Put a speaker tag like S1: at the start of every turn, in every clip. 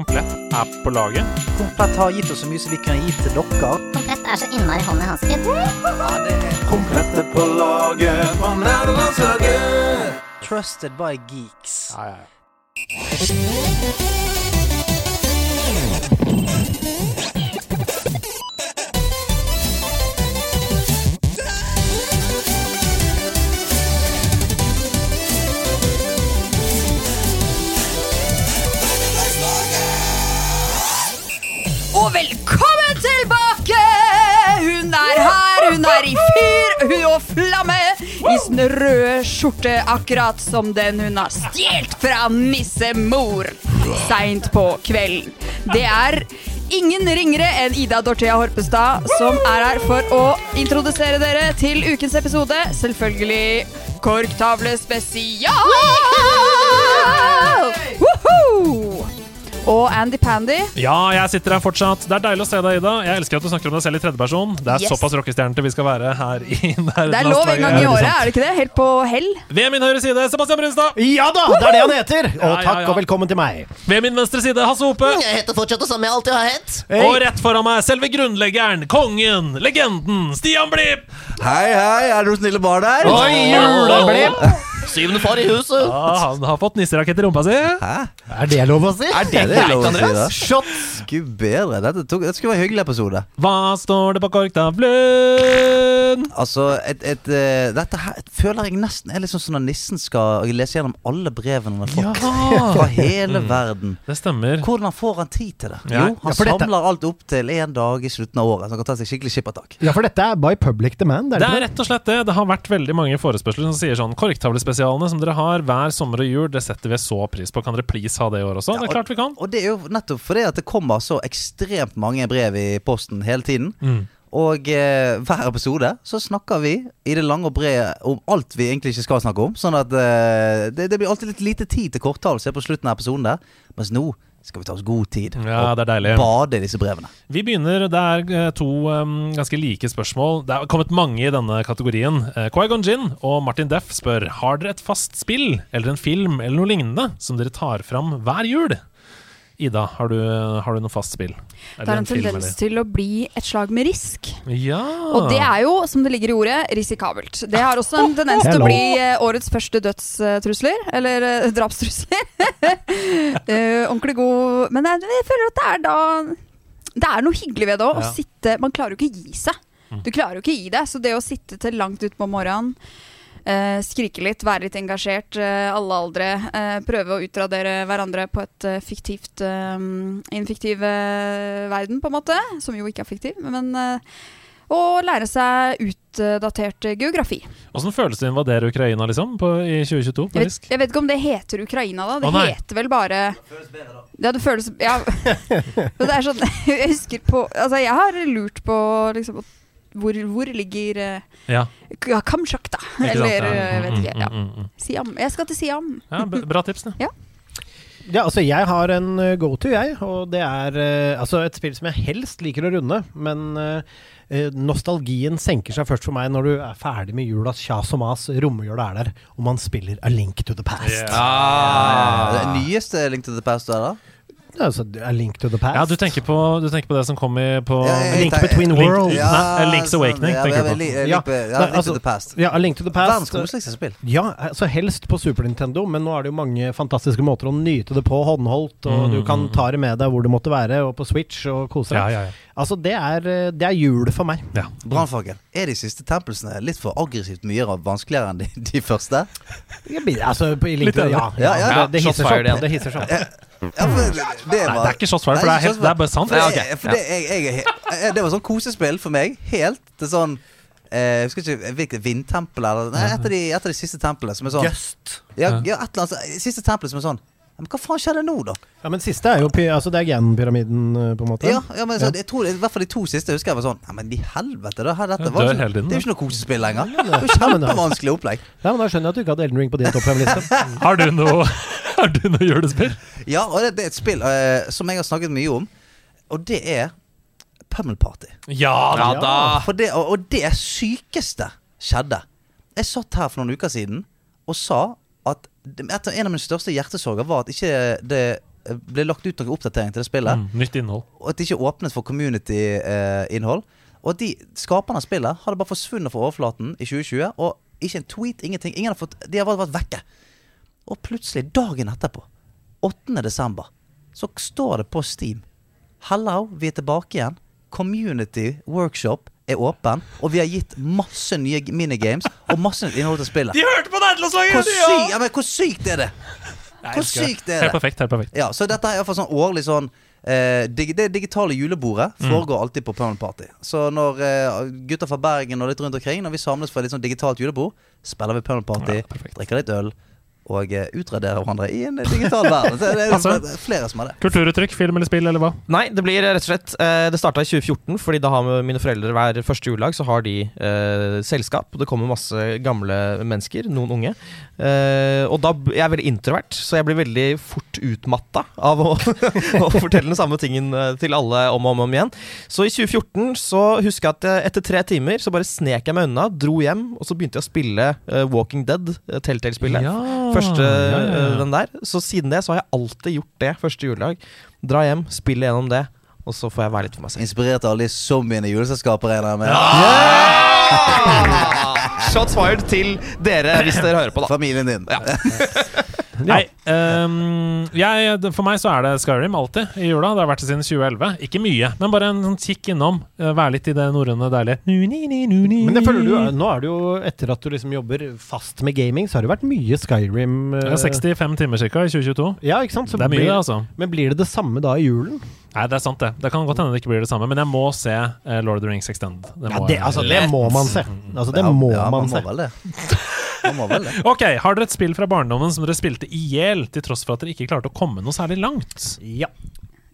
S1: Komplett er på laget.
S2: Komplett har gitt oss så mye som vi kan gi til dere.
S3: Komplett er så innmari hånd i hanske.
S4: Mm,
S5: Komplette på laget på nerdelandslaget.
S2: Trusted by geeks.
S1: Ja, ja, ja.
S6: Og velkommen tilbake! Hun er her, hun er i fyr hun og flamme. I sin røde skjorte, akkurat som den hun har stjålet fra nissemor. Seint på kvelden. Det er ingen ringere enn Ida Dorthea Horpestad som er her for å introdusere dere til ukens episode. Selvfølgelig Korktavle spesial! Woohoo! Og Andy Pandy.
S1: Ja, jeg sitter her fortsatt. Det er deilig å se deg, Ida. Jeg elsker at du snakker om deg selv i tredjeperson. Det er
S6: Yes.
S1: såpass rockestjernete vi skal være her i
S6: Det er lov en gang i
S1: Ja,
S6: året,
S1: sant.
S7: sånn.
S6: er det ikke det? Helt på hell.
S1: liksom. Ved min høyre side, Sebastian Brunstad.
S7: Ja da, det er det han heter!
S1: Ja,
S7: Og
S1: ja,
S7: takk
S1: ja.
S7: og velkommen til meg.
S1: Ved min venstre side, Hasse Hope.
S4: Jeg heter fortsatt det samme jeg alltid har hett.
S7: Hei.
S1: Og rett foran meg, selve grunnleggeren, kongen, legenden, Stian Blipp.
S5: Hei, hei, er det noen snille barn der?
S7: Oi, juleblem!
S4: Syvende far i huset.
S1: Ja, han har fått nisserakett i rumpa si.
S5: Hæ?
S7: Er det lov å si?
S5: Er det det lov å si, da?
S7: Shots!
S5: Gud bedre. Dette, tok, dette skulle være en hyggelig episode.
S1: Hva står det på korktavlen?
S5: Altså, et, et, eh, dette her føler jeg nesten er litt sånn som når nissen skal lese gjennom alle brevene han har fått fra hele verden.
S1: Det stemmer.
S5: Hvordan får han tid til det?
S1: Ja.
S5: Jo, han
S7: Ja, for dette-
S5: samler alt opp til én dag i slutten av året. Så han kan ta seg skikkelig skippertak.
S7: Ja, for dette er by public demand,
S1: Det
S7: er det
S1: er
S7: ikke det?
S1: rett og slett det. Det har vært veldig mange forespørsler som sier sånn Korktavlespesialene som dere har hver sommer og jul, det setter vi så pris på. Kan dere please ha det i år også?
S5: Ja,
S1: Det er klart vi kan.
S5: Og det er jo nettopp fordi at det kommer så ekstremt mange brev i posten hele tiden.
S6: Mm.
S5: Og eh, hver episode så snakker vi i det lange og brede om alt vi egentlig ikke skal snakke om. Sånn at eh, det, det blir alltid litt lite tid til korttalelse på slutten av episoden der. Mens nå skal vi ta oss god tid
S1: Mm. Ja, det er deilig.
S5: bade i disse brevene.
S1: Vi begynner, Det er eh, to em, ganske like spørsmål. Det er kommet mange i denne kategorien. Eh, Qui-Gon Jinn og Martin Deff spør Har dere et fast spill eller en film eller noe lignende som dere tar fram hver jul. Ida, har du, har du noe fast spill?
S6: Det er en tendens til å bli et slag med risk.
S1: Ja.
S6: Og det er jo, som det ligger i ordet, risikabelt. Det har også en tendens til
S7: Det er
S6: å
S7: lov.
S6: bli eh, årets første dødstrusler. Eller eh, drapstrusler. Eh, Ordentlig god Men jeg, jeg føler at det er da Det er noe hyggelig ved det òg.
S1: Ja.
S6: Å sitte Man klarer jo ikke å gi seg. Du klarer jo ikke å gi deg. Så det å sitte til langt utpå morgenen eh, skrike litt, være litt engasjert, eh, alle aldre. eh, prøve å utradere hverandre på et eh, fiktivt eh, En fiktiv eh, verden, på en måte. Som jo ikke er fiktiv, men eh, og lære seg utdatert geografi.
S1: Åssen føles det å invadere Ukraina liksom, på, i 2022? på
S6: Jeg vet,
S1: risk?
S6: jeg vet ikke om det heter Ukraina, da. Det
S1: Å, nei.
S6: heter vel bare Ja, det føles ja. Men det er sånn Jeg husker på Altså, jeg har lurt på liksom hvor, hvor ligger eh,
S1: Ja,
S6: K- Kamtsjakta?
S1: ikke sant?
S6: Eller
S1: Ja.
S6: eh, jeg vet ikke.
S1: Mm,
S6: Ja.
S1: mm, mm, mm.
S6: Siam. Jeg skal til Siam.
S1: Ja, b- bra tips, det.
S7: Ja, altså, jeg har en eh, go-to, jeg. Og det er eh, altså et spill som jeg helst liker å runde, men eh, eh, nostalgien senker seg først for meg når du er ferdig med julas kjas og mas, romjula er der, og man spiller A Link to the Past.
S1: Ah.
S5: Eh, Det nyeste Link to the Past du er, da?
S7: Altså, A Link to the Past.
S1: Ja, du tenker på, du tenker på det som kom i på
S5: Ja, ja, ja.
S7: Link between
S1: Link-
S7: worlds.
S1: Ja. Nei, A Link's
S5: sånn.
S1: Awakening,
S5: Ja,
S1: tenker
S5: jeg
S1: du på.
S5: vil- jeg vil-
S7: Ja.
S5: ja,
S7: Nei,
S5: Link to
S7: altså,
S5: the Past.
S7: Ja, A Link to the
S5: Verdens
S7: Past.
S5: koseligste spill.
S7: Ja, altså helst på Super Nintendo, men nå er det jo mange fantastiske måter å nyte det på håndholdt, og
S1: Mm,
S7: du kan
S1: mm,
S7: ta det med deg hvor det måtte være, og på Switch og kose
S1: Ja,
S7: deg.
S1: ja, ja.
S7: Altså, det er, eh, det er jul for meg.
S1: ja.
S5: Brannfakkel. Er de siste tempelsene litt for aggressivt mye og vanskeligere enn de, de første?
S7: Jeg blir- Altså, på- i Link
S1: Litt
S7: to the-
S1: enig.
S7: ja,
S5: Ja,
S7: ja,
S5: ja.
S7: ja, det, det
S4: Ja,
S7: hisser
S4: shots fired
S7: seg opp.
S4: igjen.
S7: Det hisser seg opp.
S5: Ja,
S7: Mm.
S5: for det, det
S1: Nei,
S5: var
S1: det er ikke shotsfire, for det
S5: Nei,
S1: er, helt,
S5: ikke
S1: det er bare sant.
S5: Nei,
S1: Ja,
S5: jeg- for det, jeg, jeg, jeg, det var sånn kosespill for meg. Helt til sånn eh, Jeg husker ikke hvilket vindtempel eller Nei, et av de, et av de siste templene som er sånn
S7: Just.
S5: ja, ja, et eller annet sånn- Siste tempelet som er sånn ja, Men hva faen skjedde nå, da?
S7: Ja, men siste er jo py- altså, det er Gan-pyramiden, eh, på en måte.
S5: Ja, ja men så,
S7: Ja.
S5: jeg tror, I hvert fall de to siste husker jeg var sånn Nei, men i helvete, da, her, dette
S1: Jeg
S5: var
S1: dør
S5: ikke-
S1: hele tiden,
S5: Det
S1: da.
S5: er jo ikke noe kosespill lenger.
S7: Ja,
S5: Det er jo
S7: Ja, men, altså,
S5: Kjempevanskelig opplegg.
S7: ja, men da skjønner jeg at du ikke hadde Elden Ring på din topp fem-liste.
S1: Har du noe, har du noe julespill?
S5: Ja, og det, det er et spill eh, som jeg har snakket mye om, og det er Pummel Party.
S1: Ja da.
S4: Ja da.
S5: For det, og, og det sykeste skjedde. Jeg satt her for noen uker siden og sa at det- et av- en av mine største hjertesorger var at ikke det ble lagt ut noen oppdatering til det spillet.
S1: Mm, nytt innhold.
S5: Og at det ikke åpnet for community-innhold. og at de skaperne av spillet hadde bare forsvunnet fra overflaten i 2020. Og ikke en tweet, ingenting. Ingen har fått, de har bare vært vekke. Og plutselig, dagen etterpå, 8. desember, så står det på Steam Hello, vi er tilbake igjen. Community workshop er åpen. Og vi har gitt masse nye minigames og masse nytt innhold til spillet.
S1: De hørte på
S5: Hvor,
S1: nerdelandslaget!
S5: syk, ja, men hvor sykt er det? Hvor
S1: elsker det.
S5: sykt er det?
S1: Helt perfekt. helt perfekt
S5: Ja, så dette er iallfall sånn årlig sånn eh, dig, Det digitale julebordet
S1: Mm.
S5: foregår alltid på Permanent Party. Så når eh, gutter fra Bergen og litt rundt omkring Når vi samles for et litt sånn digitalt julebord, spiller vi Permanent Party,
S1: Ja, perfekt.
S5: drikker litt øl og eh, utraderer hverandre i en eh, digital verden. Så det er
S1: Altså.
S5: det er flere som har det.
S1: Kulturuttrykk, film eller spill, eller hva?
S8: Nei, det blir rett og slett eh, Det starta i 2014, fordi da har mine foreldre hver første juledag så har de eh, selskap. Det kommer masse gamle mennesker, noen unge. Eh, og da b- Jeg er veldig introvert, så jeg blir veldig fort utmatta av å, å fortelle den samme tingen eh, til alle om og om, og om igjen. Så i 2014 så husker jeg at jeg, etter tre timer så bare snek jeg meg unna, dro hjem, og så begynte jeg å spille eh, Walking Dead, eh, Telltale-spillet. Første øh,
S1: eh,
S8: den der. Så siden det så har jeg alltid gjort det første juledag. Dra hjem, spille gjennom det, og så får jeg være litt for meg selv.
S5: Inspirert av alle de zombiene i juleselskaper. regner jeg med.
S8: Ah! Shots fired til dere, hvis dere hører på, da.
S5: Familien din.
S8: Ja.
S1: Nei, ehm, jeg, det- for meg så er det Skyrim alltid i jula. Det har vært det siden 2011. Ikke mye, men bare en sånn kikk innom. eh, Være litt i det norrøne deilige
S7: Men
S1: Men
S7: det føler du, er- nå er det jo etter at du liksom jobber fast med gaming, så har det vært mye Skyrim. eh,
S1: 65 timer ca. i 2022.
S7: Ja, ikke sant? Så
S1: Det er mye,
S7: blir,
S1: det, altså.
S7: Men blir det det samme da i julen?
S1: Nei, det er sant, det. Det kan godt hende det ikke blir det samme, men jeg må se eh, Lord of the Rings Extend. Det må jeg.
S7: det altså, må man se. Altså, det
S5: Ja,
S7: må
S5: ja,
S7: man
S5: man
S7: se.
S5: må vel det. Man må vel det.
S1: Ok, Har dere et spill fra barndommen som dere spilte i hjel, til tross for at dere ikke klarte å komme noe særlig langt?
S7: Ja.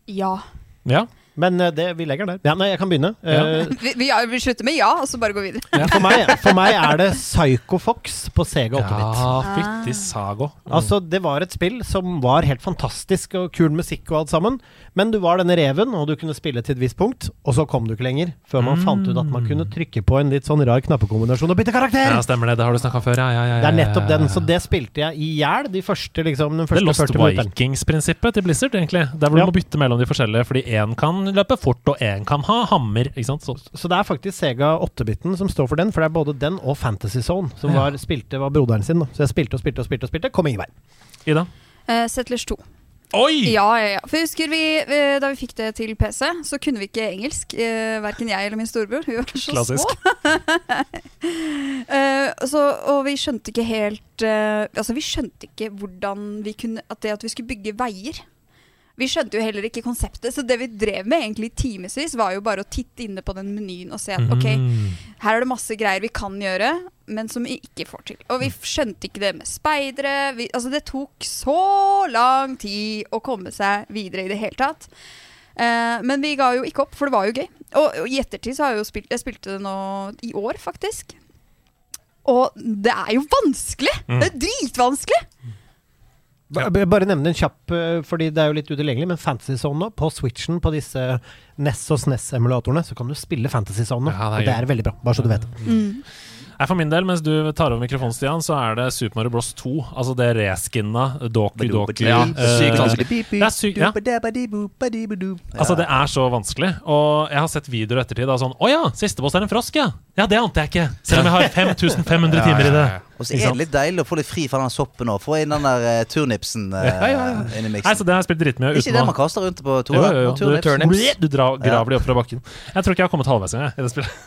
S6: Ja.
S1: Ja,
S7: Men eh, det, vi legger den der. Ja, nei, jeg kan begynne. Eh,
S6: Vi, vi, ja, vi slutter med ja, og så bare går vi videre.
S7: for, meg, for meg er det Psycho Fox på Sega 8-bit.
S1: fytti sago.
S7: Altså, det var et spill som var helt fantastisk, og kul musikk og alt sammen. Men du var denne reven, og du kunne spille til et visst punkt, og så kom du ikke lenger. Før
S1: Mm.
S7: man fant ut at man kunne trykke på en litt sånn rar knappekombinasjon og bytte karakter!
S1: Ja, stemmer det. Det har du snakka før. Ja, ja, ja, ja,
S7: Det er nettopp den,
S1: ja,
S7: så
S1: ja.
S7: det spilte jeg i hjel. De første, liksom, den
S1: Det
S7: første
S1: er Lost
S7: 40 minutteren.
S1: Vikings-prinsippet til Blizzard, egentlig. Der hvor
S7: Ja.
S1: du må bytte mellom de forskjellige, fordi én kan løpe fort, og én kan ha hammer. Ikke sant? Så,
S7: Så det er faktisk Sega 8-biten som står for den, for det er både den og Fantasy Zone, som var, spilte var broderen sin. da. Så jeg spilte og spilte og spilte, og spilte, kom ingen vei.
S1: Ida?
S6: Eh, Settlers 2.
S1: Oi!
S6: Ja, ja, ja. For jeg husker vi, eh, da vi fikk det til PC, så kunne vi ikke engelsk. Uh, verken jeg eller min storebror. Vi var så
S1: Klassisk.
S6: små. Eh, så, og vi skjønte ikke helt eh, Altså, vi skjønte ikke hvordan vi kunne At det at vi skulle bygge veier. Vi skjønte jo heller ikke konseptet, så det vi drev med egentlig i timevis, var jo bare å titte inne på den menyen og se at OK,
S1: Mm.
S6: her er det masse greier vi kan gjøre, men som vi ikke får til. Og vi skjønte ikke det med speidere. Vi, altså, det tok så lang tid å komme seg videre i det hele tatt. Eh, men vi ga jo ikke opp, for det var jo gøy. Og, og i ettertid så har jeg jo spilt Jeg spilte det nå i år, faktisk. Og det er jo vanskelig!
S1: Mm.
S8: Mm.
S6: Det er dritvanskelig!
S7: Ba- b- Bare nevne en kjapp, eh, fordi det er jo litt utilgjengelig, men Fantasy Zone nå, på Switchen på disse NES og SNES-emulatorene, så kan du spille Fantasy Zone nå.
S1: Ja, det er
S7: og det er veldig bra, bare så du vet.
S1: Nei, for min del, mens du tar over mikrofonen, Stian, så er det Super Mario Bros 2. Altså det reskinna Doki Doki.
S8: Ja,
S1: eh,
S8: sykt vanskelig.
S1: Det er sykt, ja. Altså, det er så vanskelig. Og jeg har sett videoer i ettertid av sånn Å ja, siste boss er en frosk, ja! Ja, det ante jeg ikke! Selv om jeg har 5500 timer i det.
S5: Og så
S1: Ikke
S5: er
S1: sant?
S5: det litt deilig å få litt fri fra den soppen og få inn den der eh, turnipsen eh,
S1: Ja, ja, ja.
S5: inn i miksen.
S1: Nei, så det har jeg spilt dritmye
S5: Det er
S1: uten
S5: ikke det
S1: å-
S5: man kaster rundt på
S1: Jo,
S5: Tore?
S1: jo, jo.
S5: Turnips.
S8: Du turnips.
S1: Bleh, Du dra, graver de opp fra bakken. Jeg tror ikke jeg har kommet halvveis engang. i det spillet.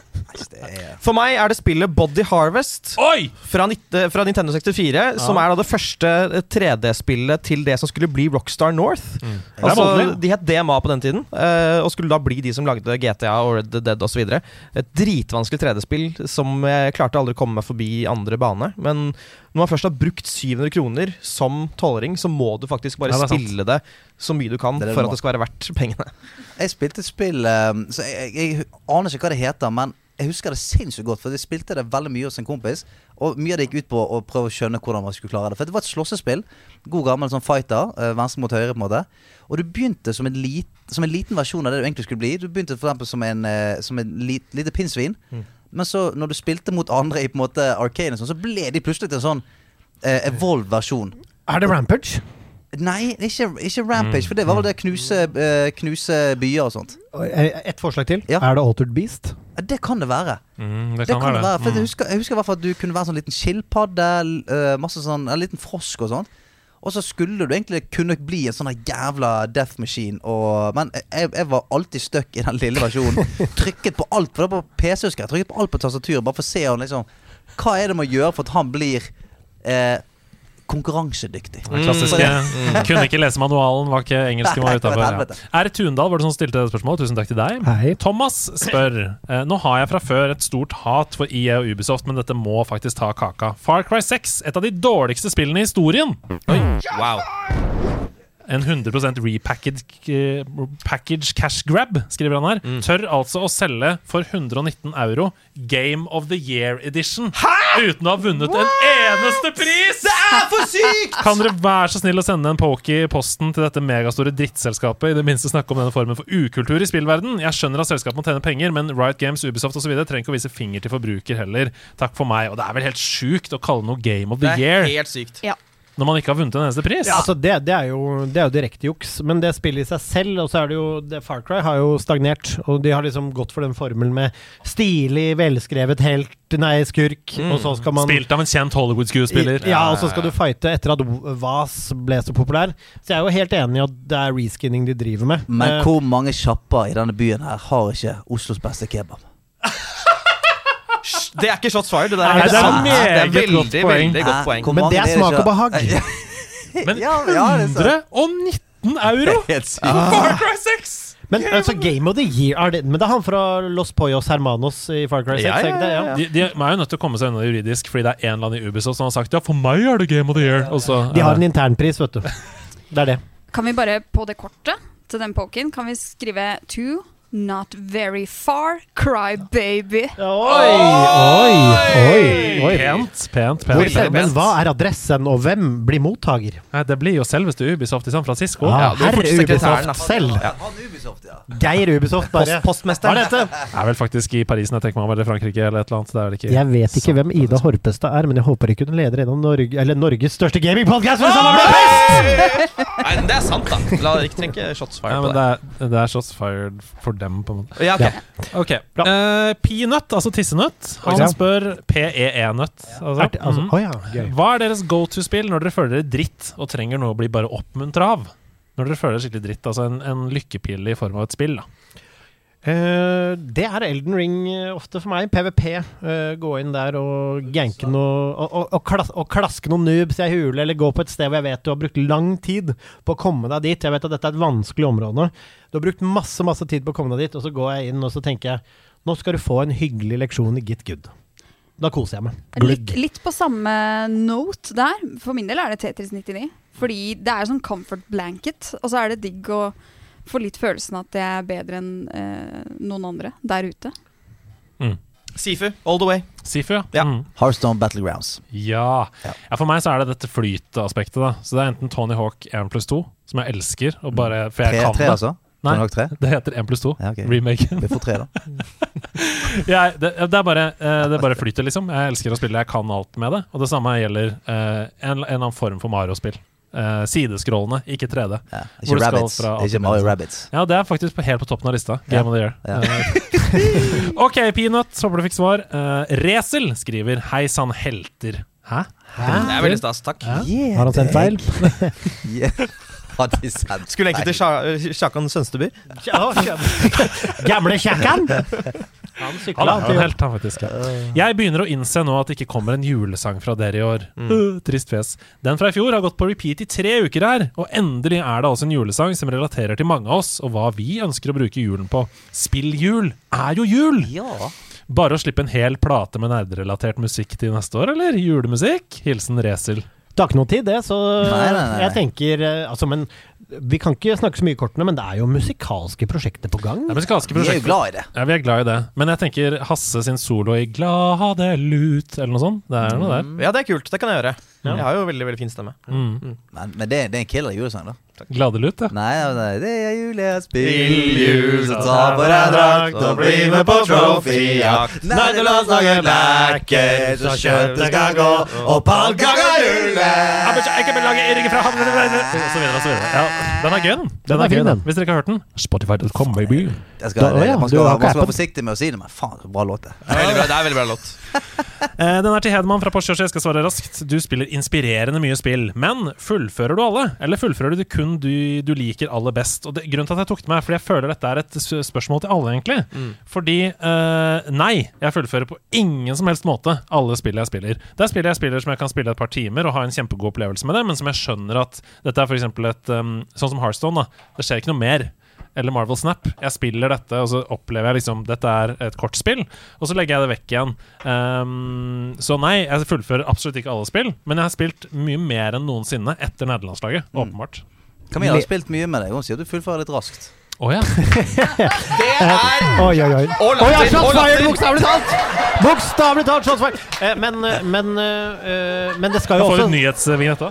S5: Det er-
S8: For meg er det spillet Body Harvest
S1: Oi!
S8: fra, nitt- eh, fra Nintendo 64, som er da det første eh, 3D-spillet til det som skulle bli Rockstar North.
S1: Mm. Det er
S8: Altså,
S1: voldelig.
S8: de het DMA på den tiden, eh, og skulle da bli de som lagde GTA og Red Dead osv. Et dritvanskelig 3D-spill som jeg klarte aldri å komme meg forbi i andre bane. Men når man først har brukt 700 kroner som tolvåring, så må du faktisk bare
S1: Ja, det er sant.
S8: spille det så mye du kan
S5: Det er det du
S8: for
S5: må.
S8: at det skal være verdt pengene.
S5: Jeg spilte et spill eh, Så jeg, jeg, jeg aner ikke hva det heter, men jeg husker det sinnssykt godt. For jeg spilte det veldig mye hos en kompis, og mye av det gikk ut på å prøve å skjønne hvordan man skulle klare det. For det var et slåssespill. God gammel sånn fighter. eh, Venstre mot høyre, på en måte. Og du begynte som en, lit, som en liten versjon av det du egentlig skulle bli. Du begynte for eksempel som en, eh, som en lit, lite pinnsvin. Men så, når du spilte mot andre i på en måte arcane, og sånn, så ble de plutselig til en sånn eh, evolved versjon.
S7: Er det Rampage?
S5: Nei, ikke, ikke Rampage, for det var vel det knuse, eh, knuse byer og sånt.
S7: eh, Et forslag til.
S5: Ja.
S7: Er det Altered Beast?
S5: Ja, Det kan det være.
S1: Mm,
S5: Det kan det være, for jeg, husker, jeg husker i hvert fall at du kunne være sånn liten skilpadde, l- eh, masse sånn, en liten frosk og sånn. Og så skulle du egentlig kunne bli en sånn her jævla death machine. Og, men jeg, jeg var alltid stuck i den lille versjonen. Trykket på alt. For det var på PC, husker jeg. Trykket på alt på tastaturet bare for å se om liksom Hva er det man gjør for at han blir eh, konkurransedyktig?
S1: Den Mm. klassiske. Mm. Kunne ikke lese manualen, var ikke engelsken var
S5: Mm. Nei, for
S1: utafor.
S5: helvete.
S1: Ja. R. Tundal var det som stilte det spørsmålet. Tusen takk til deg.
S7: Hei.
S1: Thomas spør eh, Nå har jeg fra før et stort hat for EA og Ubisoft, men dette må faktisk ta kaka. Far Cry 6, et av de dårligste spillene i historien.
S8: Wow.
S1: En 100 repackaged eh, package cash grab, skriver han her. Tør altså å selge for 119 euro Game of the Year Edition. Uten å ha vunnet en eneste pris! Det er for sykt! Kan dere være så snill å sende en poke i posten til dette megastore drittselskapet? I det minste snakke om denne formen for ukultur i spillverden Jeg skjønner at selskapet må tjene penger, men Riot Games, Ubisoft osv. trenger ikke å vise finger til forbruker heller. Takk for meg. Og det er vel helt sjukt å kalle noe Game of the
S8: Det er
S1: Year
S8: helt sykt.
S6: Ja.
S1: når man ikke har vunnet en eneste pris.
S7: Ja, altså det, det, er jo, det er jo direkte juks, men det spillet i seg selv, og så er det jo det, Far Cry har jo stagnert, og de har liksom gått for den formelen med stilig, velskrevet helt, nei, skurk,
S1: Mm.
S7: og så skal man
S1: Spilt av en kjent Hollywood-skuespiller.
S7: Ja, og så skal du fighte etter at Vaz ble så populær. Så jeg er jo helt enig i at det er reskinning de driver med.
S5: Men
S7: Eh,
S5: hvor mange sjapper i denne byen her har ikke Oslos beste kebab?
S8: Det er ikke shots fired. Det der
S1: Nei,
S8: er, helt
S1: det er
S8: sant.
S1: meget
S8: det er veldig,
S1: godt poeng.
S8: veldig godt poeng.
S5: Hvor
S7: Men
S5: mange
S7: det er
S5: ikke-
S7: smak og behag.
S1: Men
S5: Ja, ja, det er sant.
S1: 119 euro
S5: Helt sykt.
S1: for Far Cry 6!
S7: Men altså, Game of the Year er det, Men det er han fra Los Poyos Hermanos i Far Cry 6?
S8: Ja, ja,
S7: er ikke det?
S8: ja,
S1: De, de er jo nødt til å komme seg unna juridisk, fordi det er en eller annen i Ubisoft som har sagt ja, for meg er det Game of the Year. Og så, eh,
S7: De har en internpris, vet du. Det er det.
S6: Kan vi bare på det kortet til den poken, kan vi skrive to not very far, cry baby.
S7: Oi, oi, oi. oi.
S1: Pent, pent,
S7: Hvor,
S1: pent.
S8: Veldig
S7: men
S8: pent.
S7: hva er adressen, og hvem blir mottaker?
S1: Nei, det blir jo selveste Ubisoft i San Francisco.
S7: Ah,
S8: Ja, du er
S7: Herre
S8: fortsatt sekretæren,
S7: Ubisoft
S8: da.
S7: selv.
S5: Han Ubisoft, ja.
S7: Geir Ubisoft, bare.
S8: Post, postmester.
S7: Hva er dette?
S1: Er vel faktisk i Parisen, jeg tenker meg, om, eller Frankrike eller et eller annet. Det er vel ikke
S7: Jeg vet ikke hvem Ida Horpestad er, men jeg håper ikke hun leder en av Norge, eller Norges største gamingpodkast!
S8: Nei, men det er sant, da. La dere ikke trekke shots
S1: Nei,
S8: fired
S1: men
S8: på
S1: det
S8: det.
S1: er, det er shots fired for dem, på en måte.
S8: Ja, ok.
S1: Ok,
S7: Bra.
S1: Eh, Peanut, altså tissenøtt, han
S7: Ja.
S1: spør PEE-nøtt. Altså.
S7: Altså,
S1: Mhm.
S7: å ja, gøy.
S1: Hva er deres go to-spill når dere føler dere dritt og trenger noe å bli bare oppmuntra av? Når dere føler dere skikkelig dritt, altså en, en lykkepille i form av et spill. da
S7: Eh, det er Elden Ring eh, ofte for meg. PVP. eh, gå inn der og ganke noe og, og, og, klas og klaske noen noobs i ei hule, eller gå på et sted hvor jeg vet du har brukt lang tid på å komme deg dit. Jeg vet at dette er et vanskelig område. Du har brukt masse masse tid på å komme deg dit, og så går jeg inn og så tenker jeg nå skal du få en hyggelig leksjon i Git Good. Da koser jeg meg.
S6: Litt, litt på samme note der. For min del er det Tetris 99. Fordi det er sånn comfort blanket. Og så er det digg å få litt følelsen at det er bedre enn eh, noen andre der ute.
S8: Sifu, all the way.
S1: Sifu, ja.
S8: Ja.
S1: Mm.
S5: Hearthstone Battlegrounds.
S1: Ja.
S5: Ja.
S1: ja. For meg så er det dette flyteaspektet. da Så det er enten Tony Hawk 1 pluss 2, som jeg elsker, og bare, for jeg
S5: Tre,
S1: kan
S5: tre
S1: det.
S5: altså?
S1: Nei.
S5: Tony Hawk tre?
S1: Det heter 1 pluss 2.
S5: Ja, ok.
S1: Remaken.
S5: Vi får tre, da.
S1: Jeg, det, det, er bare, eh, det bare flyter, liksom. Jeg elsker å spille, jeg kan alt med det. Og det samme gjelder eh, en, en eller annen form for Mario-spill. Eh, sideskrollende, ikke 3D.
S5: Ja.
S1: Hvor
S5: Ikke
S1: du skal
S5: Rabbits.
S1: fra A
S5: Ikke
S1: til
S5: Mario
S1: B.
S5: Rabbits.
S1: Ja, det er faktisk på, helt på toppen av lista. Game
S5: Ja.
S1: of the year.
S5: Ja.
S1: Eh, ok, Peanut, håper du fikk svar. Eh, Resel skriver 'Hei sann, helter'. Hæ?
S8: Det er veldig stas. Takk.
S7: Har han sendt feil?
S5: Yeah. Hadde de sendt
S8: Skulle egentlig til Sja- Sjakan Sønsteby.
S7: Gamle kjekkan! Han
S1: Han
S7: sykla
S1: er jo en helt, han faktisk. Ja. Jeg begynner å innse nå at det ikke kommer en julesang fra dere i år.
S5: Mm.
S1: Uh, trist fjes. Den fra i fjor har gått på repeat i tre uker her, og endelig er det altså en julesang som relaterer til mange av oss, og hva vi ønsker å bruke julen på. Spilljul er jo jul!
S5: Ja.
S1: Bare å slippe en hel plate med nerderelatert musikk til neste år, eller? Julemusikk? Hilsen Resel.
S7: Det har ikke noe tid, det. Så
S5: Nei, nei, nei.
S7: jeg tenker eh, Altså, men vi kan ikke snakke så mye i kortene, men det er jo musikalske prosjekter på gang.
S1: Det er musikalske
S5: Vi er jo
S1: prosjekter.
S5: glad i det.
S1: Ja, vi er glad i det. Men jeg tenker Hasse sin solo i 'Glade lut' eller noe sånt. Det er noe der.
S8: Ja, det er kult. Det kan jeg gjøre. Jeg har jo veldig veldig fin stemme.
S1: Mm.
S5: Men, men det, det er en killer julesang, da.
S1: Glade lut, ja.
S5: Nei, nei, nei, det er jul, jeg
S1: Spill
S5: spiller
S1: jul, så ta på deg drakt og bli med på trophyjakt.
S5: Nerdelandslaget lekker, så kjøttet skal gå, og pannkaker
S1: Ikke belage Erik fra Hamlet Og så videre og så videre. Ja, den er gøy, den.
S7: Den er fin, den.
S1: Hvis dere ikke har hørt den. Spotify.com, baby.
S5: Jeg skal,
S7: Da- å ja,
S5: man
S7: du
S5: skal,
S7: har
S5: man
S7: ikke
S5: skal være
S7: appen.
S5: forsiktig med å si det, men faen, så bra låt det.
S8: Det er veldig bra, det er veldig bra låt.
S1: Eh, Den er til Hedman fra Porsche, så jeg skal svare raskt. Du spiller inspirerende mye spill, men fullfører du alle? Eller fullfører du kun du, du liker aller best? Og det, grunnen til at jeg tok det med, er fordi jeg føler dette er et s- spørsmål til alle, egentlig.
S8: Mm.
S1: Fordi eh, nei, jeg fullfører på ingen som helst måte alle spill jeg spiller. Det er spill jeg spiller som jeg kan spille et par timer og ha en kjempegod opplevelse med det, men som jeg skjønner at dette er f.eks. et um, Sånn som Hearthstone, da. Det skjer ikke noe mer eller Marvel Snap. Jeg spiller dette, og så opplever jeg liksom dette er et kortspill, og så legger jeg det vekk igjen. Ehm, så nei, jeg fullfører absolutt ikke alle spill, men jeg har spilt mye mer enn noensinne etter nederlandslaget,
S7: Mm.
S1: åpenbart.
S5: Camilla har spilt mye med deg, hun sier du fullfører litt raskt.
S1: Å ja.
S8: Det er
S7: Oi, oi, oi.
S8: Og
S7: Å ja,
S8: latter!
S7: shots
S8: og
S7: fired,
S8: latter.
S7: bokstavelig talt! Bokstavelig talt shots fired! Eh, Men, eh, men, eh, eh, men det skal
S1: Da
S7: jo
S1: får vi
S7: også
S1: en nyhetsvignett da.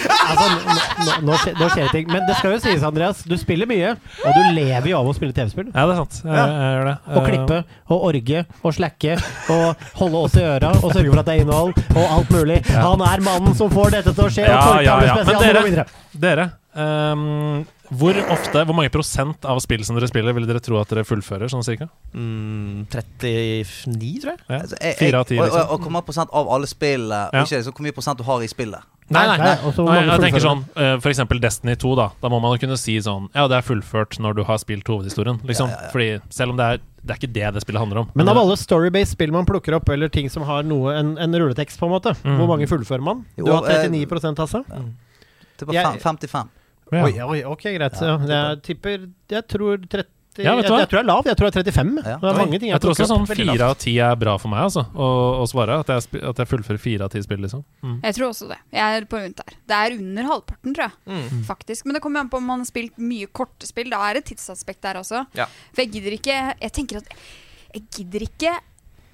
S7: altså, nå- nå, nå, skjer- nå skjer det ting. Men det skal jo sies, Andreas, du spiller mye, og du lever jo av å spille TV-spill.
S1: Ja, det er sant. Jeg, jeg gjør det. Eh,
S7: Og klippe og orge og slacke og holde oss i øra og sørge for at det er innhold og alt mulig. Han er mannen som får dette til å skje.
S1: Ja,
S7: og
S1: ja, ja. Men
S7: Torgtavlespesial og
S1: dere,
S7: videre.
S1: dere ehm, hvor ofte, hvor mange prosent av spill som dere spiller, vil dere tro at dere fullfører, sånn cirka?
S8: Mm, 39, tror jeg.
S1: Ja.
S5: Altså, jeg- jeg-
S1: Fire av ti,
S5: og-
S1: liksom.
S5: Og, og hvor mange prosent av alle spillene,
S1: Ja.
S5: og ikke liksom, hvor mye prosent du har i spillet.
S1: Nei, nei,
S7: Nei,
S1: nei.
S7: og så
S1: Nei,
S7: mange
S1: jeg tenker sånn,
S7: fullfører.
S1: eh, For eksempel Destiny 2, da. Da må man jo kunne si sånn Ja, det er fullført når du har spilt hovedhistorien, liksom. Fordi selv om det er Det er ikke det det spillet handler om.
S7: Men av alle storybased spill man plukker opp, eller ting som har noe, en, en rulletekst, på en måte,
S1: Mm.
S7: hvor mange fullfører man?
S5: Jo,
S7: Du har
S5: eh,
S7: 39 Hasse?
S5: Det var
S7: Jeg-
S5: fem- 55.
S1: Ja.
S7: Oi, oi, ok, greit. Ja, jeg tipper Jeg tror 30
S1: Ja, vet
S7: jeg,
S1: du hva?
S7: jeg tror jeg er lav. Jeg tror jeg er 35.
S5: Ja.
S7: Det er mange ting
S1: Jeg
S7: jeg,
S1: tror også
S7: plukker
S1: sånn
S7: opp. Veldig lavt.
S1: fire av ti er bra for meg, altså. Å, å svare. At jeg, spi- at jeg fullfører fire av ti spill, liksom.
S6: Jeg tror også det. Jeg er på rundt der. Det er under halvparten, tror jeg.
S8: Mm.
S6: Faktisk. Men det kommer an på om man har spilt mye kortspill. Da er det et tidsaspekt der også.
S8: Ja.
S6: For jeg gidder ikke Jeg tenker at jeg gidder ikke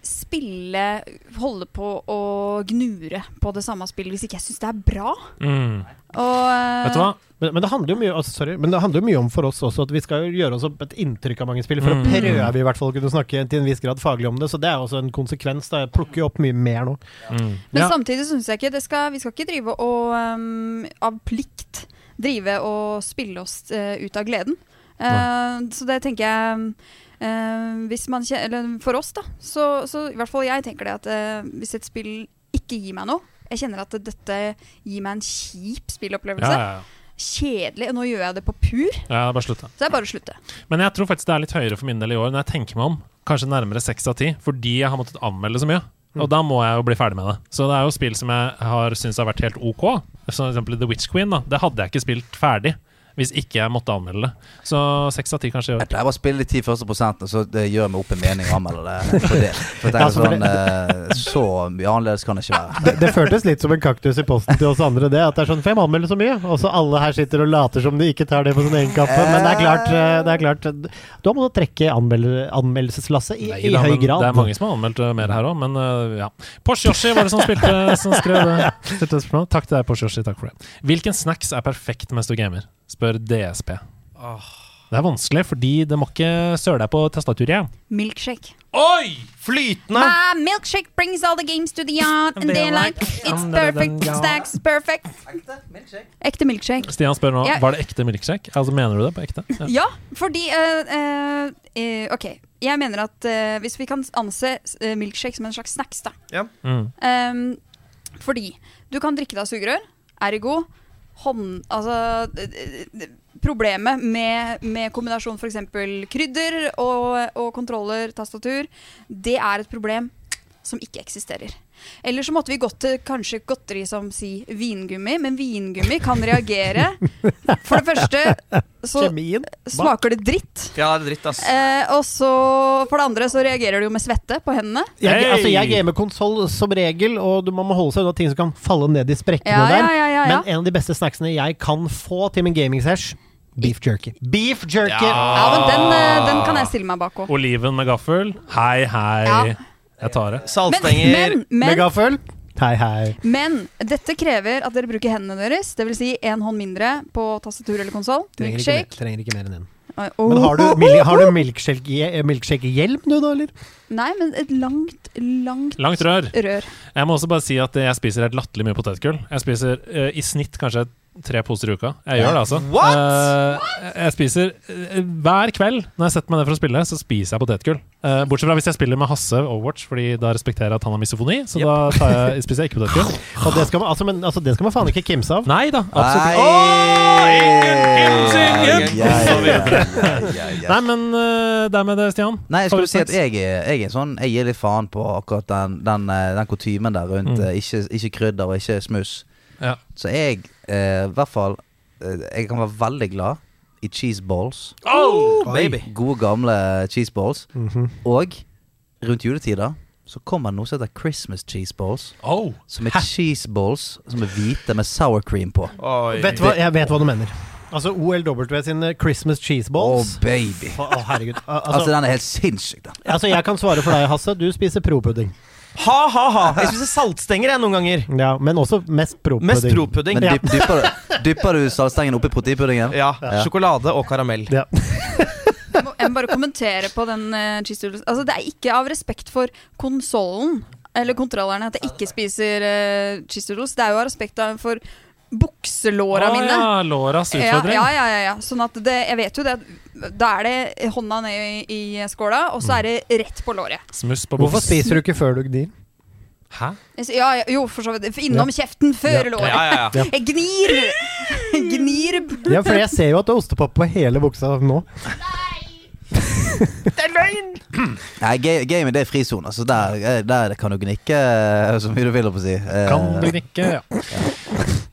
S6: spille Holde på å gnure på det samme spillet hvis ikke jeg syns det er bra.
S1: Mm.
S6: Og eh,
S1: Vet du hva?
S7: Men, men, det handler jo mye, altså, sorry, men det handler jo mye om for oss også at vi skal jo gjøre oss opp et inntrykk av mange spill. For
S1: Mm.
S7: å prøve i hvert fall å kunne snakke til en viss grad faglig om det. Så det er også en konsekvens. Da. Jeg plukker jo opp mye mer nå.
S1: Mm.
S6: Men
S1: Ja.
S6: samtidig syns jeg ikke det skal, Vi skal ikke drive og ehm, av plikt drive og spille oss eh, ut av gleden. Eh, så det tenker jeg um, eh, hvis man, kje- eller For oss, da. Så, så i hvert fall jeg tenker det at eh, hvis et spill ikke gir meg noe Jeg kjenner at dette gir meg en kjip
S1: Ja,
S6: spillopplevelse.
S1: ja, ja.
S6: Kjedelig. Og nå gjør jeg det på pur,
S1: ja, bare slutt, da.
S6: så er det bare å slutte.
S1: Men jeg tror faktisk det er litt høyere for min del i år, når jeg tenker meg om. Kanskje nærmere seks av ti, fordi jeg har måttet anmelde så mye. Og da må jeg jo bli ferdig med det. Så det er jo spill som jeg har syntes har vært helt OK. Som eksempel The Witch Queen. da Det hadde jeg ikke spilt ferdig hvis ikke jeg måtte anmelde det. Så seks av ti kanskje i
S5: Jeg
S1: år.
S5: pleier bare å spille de ti første prosentene, så det gjør meg opp en mening og anmelder det. For det. For jeg
S7: Ja,
S5: tenker
S1: altså,
S7: så for
S5: sånn, eh, så mye annerledes kan det ikke være.
S7: Det, det føltes litt som en kaktus i posten til oss andre, det. At det er sånn, for jeg må anmelde så mye. Og så alle her sitter og later som de ikke tar det på sin egen kappe. Men det er klart, eh, det er klart eh, Du har måttet trekke anmelde, anmeldelseslasset i, i
S1: Neida,
S7: høy
S1: men
S7: grad.
S1: Det er mange som har anmeldt eh, mer her òg, men eh, ja. Porsche Yoshi var det som spilte som skrev det. Stilte spørsmål. Takk til deg, Porsche Yoshi. Takk for det. Hvilken snacks er perfekt mens du gamer? Spør DSP. Det er vanskelig, fordi det må ikke søle deg på tastaturet.
S6: Milkshake.
S1: Oi!
S8: Flytende!
S6: Ah, milkshake brings all the games to the yard, and they like it's perfect, snacks is perfect. Ekte milkshake.
S1: Stian spør nå,
S6: Jeg-
S1: var det ekte milkshake? Altså, mener du det på ekte? Ja.
S6: Ja, fordi eh, eh, eh, Ok, jeg mener at eh, hvis vi kan anse eh, milkshake som en slags snacks, da.
S1: Mm.
S6: Ehm, fordi du kan drikke deg av sugerør, ergo hånd... Altså d- d- d- Problemet med, med kombinasjon f.eks. krydder og, og kontroller, tastatur, det er et problem som ikke eksisterer. Eller så måtte vi gått til kanskje godteri som si vingummi, men vingummi kan reagere. For det første så
S7: Kjemien. Bak.
S6: smaker det dritt.
S8: Ja, det er dritt, ass.
S6: Eh, og så, for det andre, så reagerer det jo med svette på hendene.
S7: Jeg,
S1: Hey!
S7: altså, jeg gamer konsoll som regel, og du, man må holde seg unna ting som kan falle ned i sprekkene
S6: Ja,
S7: der.
S6: ja, ja, ja, ja.
S7: Men en av de beste snacksene jeg kan få til min gaming-sesh, beef jerky. Beef jerky!
S6: Ja, men den, eh, den kan jeg stille meg bak òg.
S1: Oliven med gaffel. Hei, hei.
S6: Ja.
S1: Jeg tar det.
S6: Men,
S8: Saltstenger.
S6: men, men
S7: Megaføl. Hei, hei.
S6: Men dette krever at dere bruker hendene deres, dvs. Si en hånd mindre på tastatur eller konsoll.
S7: Trenger ikke, mer,
S6: Milkshake.
S7: trenger ikke mer enn én.
S6: Men
S7: Men har du, mil- har du milkshake- milkshake-hjelm, du, da, eller?
S6: Nei, men et langt, langt
S1: Langt rør.
S6: rør.
S1: Jeg må også bare si at jeg spiser helt latterlig mye potetgull. Jeg spiser eh, i snitt kanskje tre poser i uka. Jeg gjør det, altså.
S8: What?
S1: Eh, jeg spiser eh, Hver kveld når jeg setter meg ned for å spille, så spiser jeg potetgull. Eh, bortsett fra hvis jeg spiller med Hasse Overwatch, Fordi da respekterer jeg at han har misofoni. Så da tar jeg, spiser jeg ikke potetgull.
S7: Og det skal man, altså, men, altså, det skal man faen ikke kimse av.
S1: Nei da, absolutt
S5: Nei.
S1: ikke. Åh, ingen
S5: Ja, ja,
S1: hensyn!
S5: ja, ja, ja.
S1: Nei, men eh, det er med det, Stian.
S5: Nei, jeg skulle si at
S1: Favorittsnacks?
S5: jeg er, jeg er sånn Jeg gir litt faen på akkurat den, den, eh, den kutymen der rundt
S1: Mm.
S5: eh, ikke, ikke krydder og ikke smuss.
S1: Ja.
S5: Så jeg, eh, i hvert fall eh, Jeg kan være veldig glad i cheese balls.
S8: Oh, Baby.
S5: Gode, gamle cheese balls. Og rundt juletider så kommer det noe som heter Christmas cheese balls.
S1: Oh.
S5: Som er cheese balls som er hvite med sour cream på.
S8: Oi.
S7: Vet du hva, jeg vet hva du mener. Altså OLW sine Christmas cheese
S5: Å,
S7: balls.
S5: Oh, baby.
S7: Å, å, herregud. Al-
S5: Altså,
S7: Altså,
S5: den er helt sinnssyk, den.
S7: altså, jeg kan svare for deg, Hasse. Du spiser propudding.
S8: Ha, ha, ha. Jeg spiser saltstenger jeg noen ganger.
S7: Ja, men også mest propudding.
S8: Mest propudding.
S5: Men dyp, dypper, du- dypper du saltstengen oppi proteinpuddingen?
S8: Ja, Sjokolade og karamell.
S7: Ja.
S6: Jeg må, jeg må bare kommentere på den eh, cheese doodles. Altså, det er ikke av respekt for konsollen eller kontrollerne at jeg ikke spiser eh, cheese doodles. Det er jo av respekt av- for bukselåra
S1: Å,
S6: mine.
S1: ja, Loras
S6: Ja,
S1: utfordring.
S6: ja, ja, ja, ja. Sånn at det, jeg vet jo det at Da er det hånda ned i, i skåla, og så er det rett på låret.
S1: Smuss på
S7: Hvorfor
S1: boks.
S7: spiser du ikke før du gnir?
S1: Hæ?
S6: Jeg s- Ja, ja, jo, for så vidt. Innom kjeften før
S8: Ja,
S6: låret.
S8: ja, ja.
S6: Jeg gnir! gnir
S7: Ja, for jeg ser jo at det er ostepop på hele buksa nå.
S5: Nei, ga- gaming det er frisone. Så der, eh, der kan du gnikke eh, så mye du vil, holdt på å si. Eh,
S1: Kan du gnikke? Ja.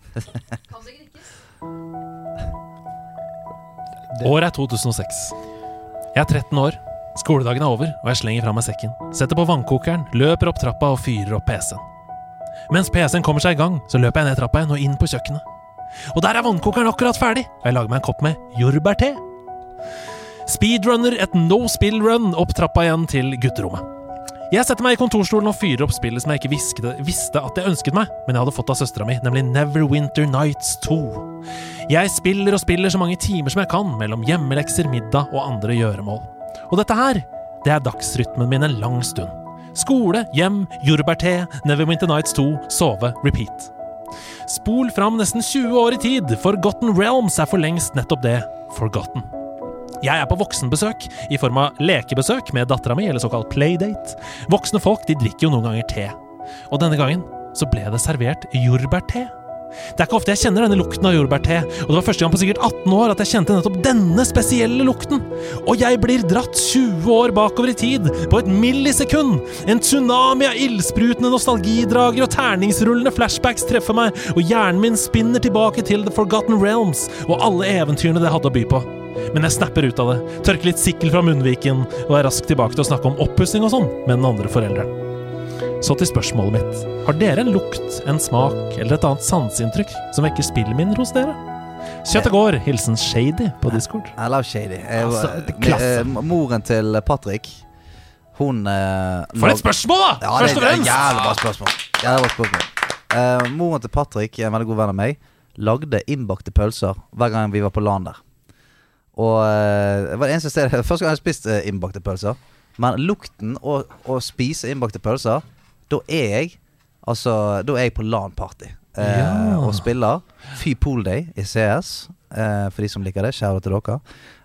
S1: Året er 2006. Jeg er 13 år. Skoledagen er over, og jeg slenger fra meg sekken. Setter på vannkokeren, løper opp trappa og fyrer opp PC-en. Mens PC-en kommer seg i gang, så løper jeg ned trappa igjen og inn på kjøkkenet. Og der er vannkokeren akkurat ferdig, og jeg lager meg en kopp med jordbærte. Speedrunner et no spill-run opp trappa igjen til gutterommet. Jeg setter meg i kontorstolen og fyrer opp spillet som jeg ikke viskede, visste at jeg ønsket meg, men jeg hadde fått av søstera mi, nemlig Neverwinter Nights 2. Jeg spiller og spiller så mange timer som jeg kan mellom hjemmelekser, middag og andre gjøremål. Og dette her, det er dagsrytmen min en lang stund. Skole, hjem, jordbærte, Neverwinter Nights 2, sove, repeat. Spol fram nesten 20 år i tid, Forgotten Realms er for lengst nettopp det, Forgotten. Jeg er på voksenbesøk, i form av lekebesøk med dattera mi, eller såkalt playdate. Voksne folk de drikker jo noen ganger te. Og denne gangen så ble det servert jordbærte. Det er ikke ofte jeg kjenner denne lukten av jordbærte, og det var første gang på sikkert 18 år at jeg kjente nettopp denne spesielle lukten. Og jeg blir dratt 20 år bakover i tid, på et millisekund. En tsunami av ildsprutende nostalgidrager og terningsrullende flashbacks treffer meg, og hjernen min spinner tilbake til The Forgotten Realms og alle eventyrene det hadde å by på. Men jeg snapper ut av det, tørker litt sikkel fra munnviken og er raskt tilbake til å snakke om oppussing og sånn med den andre forelderen. Så til spørsmålet mitt. Har dere en lukt, en smak eller et annet sanseinntrykk som vekker spillminner hos dere? Kjøttet går. Hilsen Shady på Discord.
S5: I love shady. Jeg,
S7: Altså, det er klasse.
S5: eh, moren til Patrick, hun eh,
S1: For et
S5: lag-
S1: spørsmål, da!
S5: Ja,
S1: Først
S5: det
S1: og
S5: er et
S1: fremst.
S5: jævlig bra spørsmål. Jævlig bra spørsmål. Eh, moren til Patrick, en veldig god venn av meg, lagde innbakte pølser hver gang vi var på LAN der. Og eh, det var det eneste stedet Første gang jeg spiste eh, innbakte pølser. Men lukten og å spise innbakte pølser, da er jeg Altså, da er jeg på LAN-party eh,
S1: Ja.
S5: og spiller. Fy Pool Day i CS, eh, for de som liker det. Kjære til dere.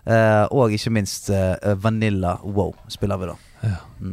S5: Eh, og ikke minst eh, Vanilla Wow spiller vi da.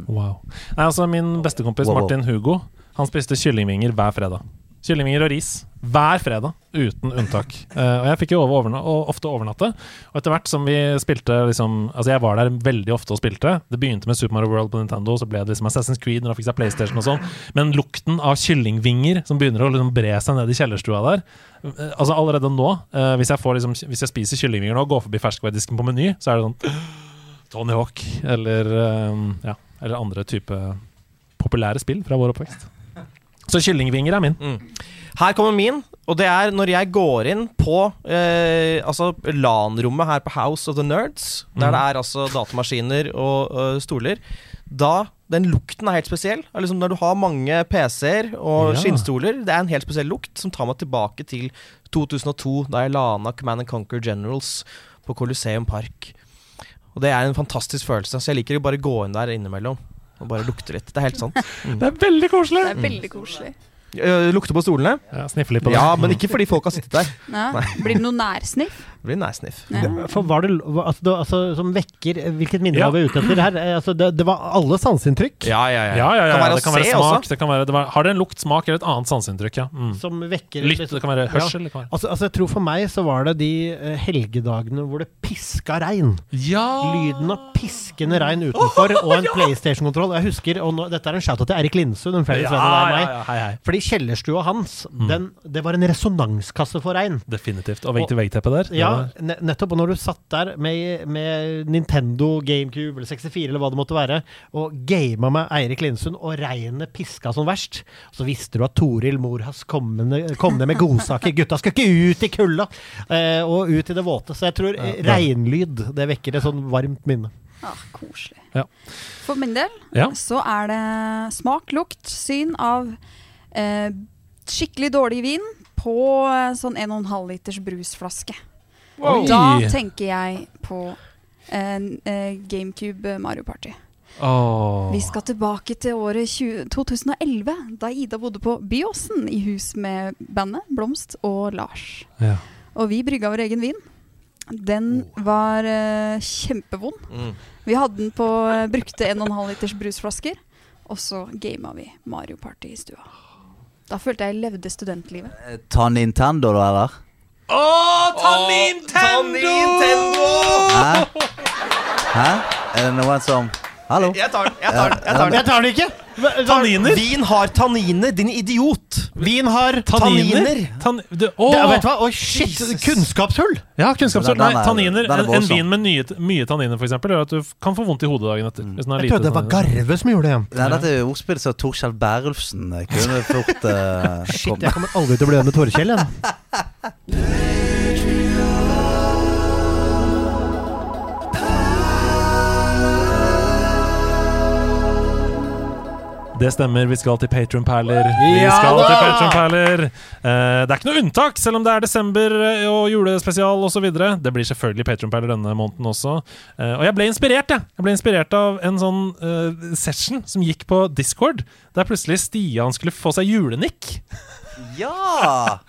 S1: Wow. Nei, altså, min bestekompis
S5: Mm. Wow, wow.
S1: Martin Hugo Han spiste kyllingvinger hver fredag. Kyllingvinger og ris hver fredag, uten unntak. Eh, og jeg fikk jo over overna og ofte overnatte. Og etter hvert som vi spilte liksom, Altså Jeg var der veldig ofte og spilte. Det begynte med Super Mario World på Nintendo, så ble det liksom Assassin's Creed når han fikk seg PlayStation og sånn. Men lukten av kyllingvinger som begynner å liksom bre seg ned i kjellerstua der eh, Altså Allerede nå, eh, hvis jeg, får liksom, hvis jeg spiser kyllingvinger nå og går forbi ferskvaredisken på Meny, så er det sånn Tony Hawk eller, eh, ja, eller andre type populære spill fra vår oppvekst. Så kyllingvinger er min.
S8: Mm. Her kommer min, og det er når jeg går inn på eh, altså LAN-rommet Mm. her på House of the Nerds, der det er altså datamaskiner og eh, stoler. øh, Da Den lukten er helt spesiell. Det er Liksom når du har mange PC-er og
S1: Ja.
S8: skinnstoler, det er en helt spesiell lukt som tar meg tilbake til 2002, da jeg la ned Command and Conquer Generals på Colosseum Park. Og det er en fantastisk følelse, så jeg liker å bare gå inn der innimellom og bare lukte litt. Det er helt sant.
S1: Det er veldig koselig!
S6: Det er veldig koselig.
S8: Øh, Lukte på stolene?
S1: Ja, Sniffe litt på det.
S8: Ja, men ikke fordi folk har sittet der.
S6: Ja. Blir det noe nærsniff?
S8: Det blir nærsniff.
S7: For var det, lo- altså, det altså, som vekker Hvilket minne
S1: Ja.
S7: var vi ute etter her? Eh, Altså, det, det var alle sanseinntrykk
S8: Ja, ja, ja.
S1: Mm. Ja, ja, ja,
S8: Kan være
S1: det kan
S8: å
S1: være
S8: se
S1: smak.
S8: også.
S1: Det kan være, det var, har det en lukt, smak eller et annet sanseinntrykk? Ja. Mm.
S7: som vekker
S1: Lytt, det kan være hørsel. Det kan være.
S7: Altså, altså, jeg tror for meg så var det de eh, helgedagene hvor det piska regn.
S1: Ja!
S7: Ah. Lyden av piskende regn utenfor og en PlayStation-kontroll. Jeg husker, og nå, Dette er en shout-out til Erik Linsund, en felles venn av deg og meg.
S1: hei, hei.
S7: Fordi kjellerstua hans, den, det var en resonanskasse for regn.
S1: Definitivt. Og vegg-til-vegg-teppet der. det
S7: Ja,
S1: var-
S7: ne nettopp. Og når du satt der med, med Nintendo, GameCube eller 64 eller hva det måtte være, og gama med Eirik Lindsund, og regnet piska som verst, så visste du at Toril Morhas kom ned kom ned med godsaker. Gutta skal ikke ut i kulda! Eh, og ut i det våte. Så jeg tror eh, regnlyd det vekker et sånn varmt minne.
S6: Ja, Ah, koselig.
S1: Ja.
S6: For min del
S1: Ja.
S6: så er det smak, lukt, syn av eh, skikkelig dårlig vin på eh, sånn 1,5 liters brusflaske.
S1: Oi.
S6: Da tenker jeg på eh, n- eh, GameCube eh, Mario Party.
S1: Åh.
S6: Vi skal tilbake til året 20 2011, da Ida bodde på Byåsen i hus med bandet Blomst og Lars.
S1: Ja.
S6: Og vi brygga vår egen vin. Den var eh, kjempevond.
S8: Mm.
S6: Vi hadde den på eh, brukte 1,5 liters brusflasker. Og så gama vi Mario Party i stua. Da følte jeg levde studentlivet.
S5: Eh, Ta Nintendo, da, eller?
S8: Ta Nintendo!
S5: Hæ? Hæ? Er det noen som Hallo?
S8: Jeg tar den. Jeg tar den. Jeg tar den.
S7: Jeg tar det ikke!
S1: Tanniner?
S8: Vin har tanniner, din idiot! Vin har
S1: Tan du, åh.
S7: Det, vet du hva? Oi, shit!
S8: Jesus.
S7: Kunnskapshull!
S1: Ja, kunnskapsord.
S5: Den er-
S1: Nei, tanniner.
S5: den er
S1: En, en
S5: voldsom.
S1: vin med nye, mye tanniner, f.eks., gjør at du f- kan få vondt i hodet dagen
S5: Mm.
S1: etter. Hvis den er
S7: Jeg
S1: lite
S7: trodde det var
S1: tanniner.
S7: Garve som gjorde det. igjen.
S5: Nei, dette er jo ordspill som Torkjell Bærulfsen kunne fort eh,
S7: Shit,
S5: kommet
S7: jeg kommer aldri til å bli venn med Torkjell igjen.
S1: Det stemmer. Vi skal til Patronperler. Vi
S7: Ja
S1: skal til
S7: da!
S1: Patronperler. Eh, det er ikke noe unntak, selv om det er desember eh, og julespesial osv. Det blir selvfølgelig Patronperler denne måneden også. Eh, og jeg ble inspirert, jeg. Jeg ble inspirert av en sånn eh, session som gikk på Discord, der plutselig Stian skulle få seg julenikk.
S5: Ja!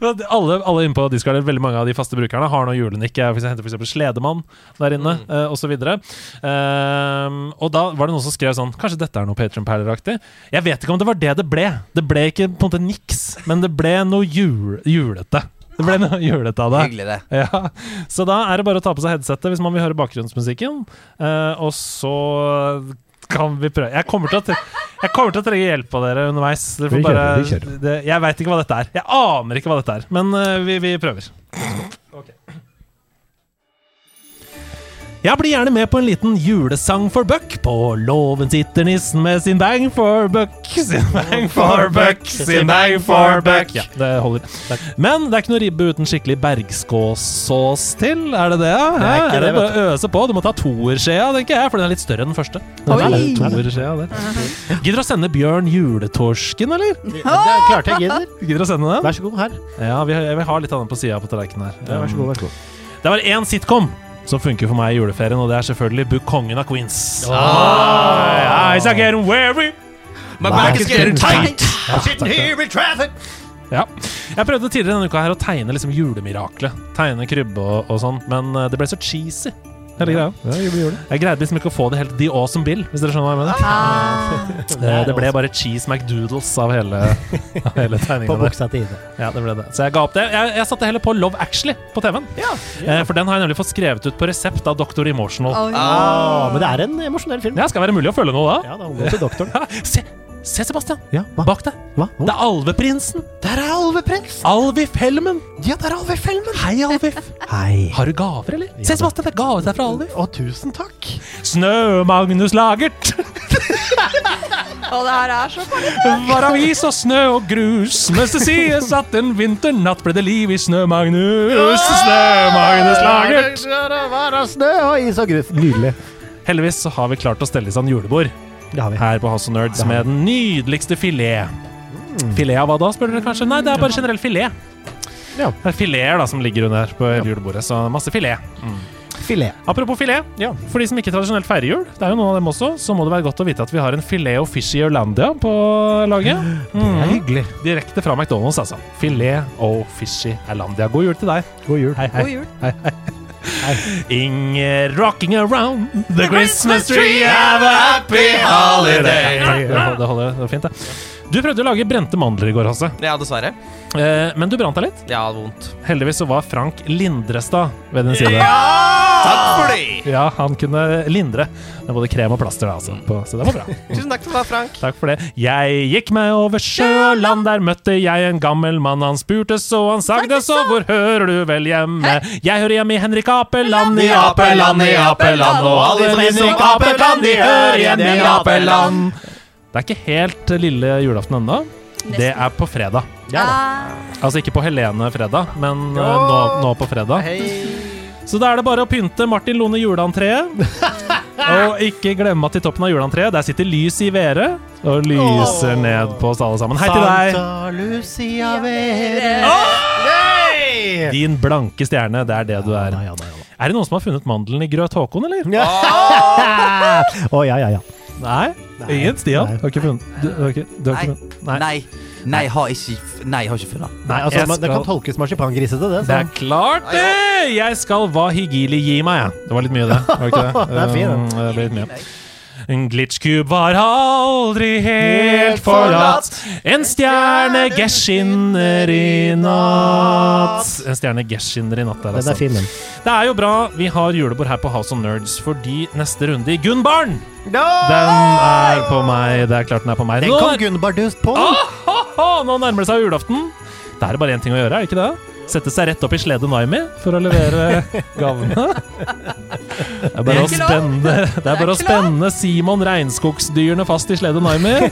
S1: Men at Alle, alle inne på Discord, eller veldig mange av de faste brukerne, har nå julenikk. Jeg for eksempel- henter f.eks. Sledemann der inne, eh, og så videre Ehm, og da var det noen som skrev sånn Kanskje dette er noe Patron Perler-aktig? Jeg vet ikke om det var det det ble. Det ble ikke på en måte niks, men det ble noe jul, julete. Det ble noe julete av det.
S5: Hyggelig, det.
S1: Ja, Så da er det bare å ta på seg headsetet hvis man vil høre bakgrunnsmusikken. Eh, og så kan vi prøve Jeg kommer til å, tre jeg kommer til å trenge hjelp av dere underveis. Dere får
S7: Vi kjører,
S1: bare-
S7: vi kjører.
S1: Det, jeg veit ikke hva dette er. Jeg aner ikke hva dette er, men eh, vi, vi prøver. Jeg blir gjerne med på en liten julesang for Buck. På låven sitter nissen med sin bang for Buck. Sin bang for Buck, sin bang for Buck. Ja, det holder. Men det er ikke noe ribbe uten skikkelig bergskåssaus til. Er det det? ja?
S7: Det er
S1: Hæ? er
S7: ikke
S1: det
S7: det, vet
S1: bare å øse på? Du må ta toerskjea, tenker jeg, for den er litt større enn den første.
S6: Oi!
S1: Den er litt toerskjea, det. Gidder å sende Bjørn juletorsken, eller?
S7: Det, det klarte jeg, Gider.
S1: Gidder å sende den?
S7: Vær så god, her.
S1: Ja, vi har, vi har litt av den på sida på tallerkenen her.
S7: Ja, Vær så god, vær så god.
S1: Det var én sitcom som funker for meg i juleferien, og det er selvfølgelig Book Kongen av Queens.
S7: Ah.
S1: Ah, My eyes are getting weary.
S8: My back is getting tight!
S1: Ja. Jeg prøvde tidligere denne uka her å tegne liksom julemiraklet. Tegne krybbe og, og sånn, men eh, det ble så cheesy. Hele greia. Jeg greide liksom ikke å få det helt The Awesome Bill, hvis dere skjønner hva jeg mener.
S7: Ah.
S1: Eh, Det ble bare Cheese McDoodles av hele, av hele
S7: På
S1: tegninga der.
S7: buksa til Ida.
S1: Ja, det ble det. Så jeg ga opp det. Jeg, jeg satte heller på Love Actually på TV-en. Eh, For den har jeg nemlig fått skrevet ut på resept av Dr. Emotional.
S6: Oi.
S7: Ah, men det er en emosjonell film.
S1: Ja, skal være mulig å føle noe da.
S7: Ja, da må du til doktoren.
S1: Se, se Sebastian,
S7: Ja, hva?
S1: bak deg.
S7: hva? Hva?
S1: Det er alveprinsen.
S7: Der er alveprins!
S1: Alvif Helmen.
S7: Ja, der er alvefelmen!
S1: Hei, Alvif.
S7: Hei.
S1: Har du gaver, eller? Se, Sebastian, det er gave til deg fra Alvif.
S7: Å, tusen takk!
S1: Snø-Magnus Lagert.
S6: Og det her er så farlig.
S1: Var av is og snø og grus. Mens det sies at en vinternatt ble det liv i Snø-Magnus. Snø-Magnus Lagert.
S7: Bare snø og is og grus. Nydelig.
S1: Heldigvis så har vi klart å stelle i stand julebord.
S7: Det har vi.
S1: her på House of Nerds
S7: Det har
S1: med den nydeligste filet.
S7: Mm.
S1: Filet av hva da, spør dere kanskje? Nei, det er bare generell filet.
S7: Ja.
S1: Det er fileter da som ligger under her på julebordet, så masse filet.
S7: Filet.
S1: Apropos filet, for de som ikke tradisjonelt feirer jul, det er jo noen av dem også, så må det være godt å vite at vi har en filet og fish i Irlandia på laget.
S7: Det er
S1: Mm.
S7: hyggelig.
S1: Direkte fra McDonald's, altså. Filet og fishy Irlandia. God jul til deg.
S7: God jul. Hei,
S6: God jul.
S1: Inger rocking around the Christmas tree, have a happy holiday. Det holder, det var fint, det. Du prøvde å lage brente mandler i går, Hasse.
S8: Ja, dessverre.
S1: Eh, Men du brant deg litt.
S8: Ja, vondt.
S1: Heldigvis så var Frank Lindrestad ved din side.
S8: Takk for det!
S1: Ja, han kunne lindre med både krem og plaster, da, altså. På, så det var bra.
S8: Tusen takk til deg, Frank.
S1: Takk for det. Jeg gikk meg over sjø og land, der møtte jeg en gammel mann. Han spurte så han sagde så, hvor hører du vel hjemme? Jeg hører hjemme i Henrik Apeland, i Apeland, i Apeland. Og alle som er i Apeland, de hører hjemme i Apeland. Det er ikke helt lille julaften ennå. Det er på fredag.
S6: Ah.
S1: Altså ikke på Helene fredag, men eh, nå, nå på fredag. Så da er det bare å pynte Martin Lone juleantreet. og ikke glemme at i toppen av juleantreet der sitter lys i været og lyser ned på oss alle sammen. Hei til deg!
S7: Santa Lucia Vere.
S1: Din blanke stjerne, det er det du er.
S7: Ja, da, ja,
S1: Er det noen som har funnet mandelen i Grøt Håkon, eller?
S7: da. Å, ja, ja, ja.
S1: Nei? Ingen? Stian? Har ikke funnet du, har ikke, du har ikke
S5: Nei.
S1: funnet Nei.
S5: Nei. Nei, har ikke, nei, har ikke funnet.
S7: Nei, altså,
S1: jeg
S7: man, det
S1: skal-
S7: kan tolkes marsipangrisete, det. altså.
S1: Det
S7: Så.
S1: er klart, det! Jeg skal hva Higili gi meg, jeg. Det var litt mye, det. Var det ikke det?
S7: Det er fint, den.
S1: Um, det ble litt mye. En glitchkube var aldri helt forlatt. En stjerne gesh skinner i natt. En stjerne gesh skinner i natt der,
S7: Den er
S1: altså.
S7: fin, den.
S1: Det er jo bra vi har julebord her på House of Nerds, fordi neste runde i Gunnbarn, den er på meg. Det er klart den er på meg.
S7: Den
S1: Nå
S7: kom
S1: er-
S7: Gunnbardust på!
S1: Ah! Åhåhå, nå nærmer det seg julaften. Da er det bare én ting å gjøre, er det ikke det? Sette seg rett opp i sledet Naimi for å levere gavene. Det er
S6: Det
S1: bare å
S6: er ikke lov.
S1: spenne, det er bare å
S6: ikke lov.
S1: spenne Simon regnskogsdyrene fast i sledet Naimi,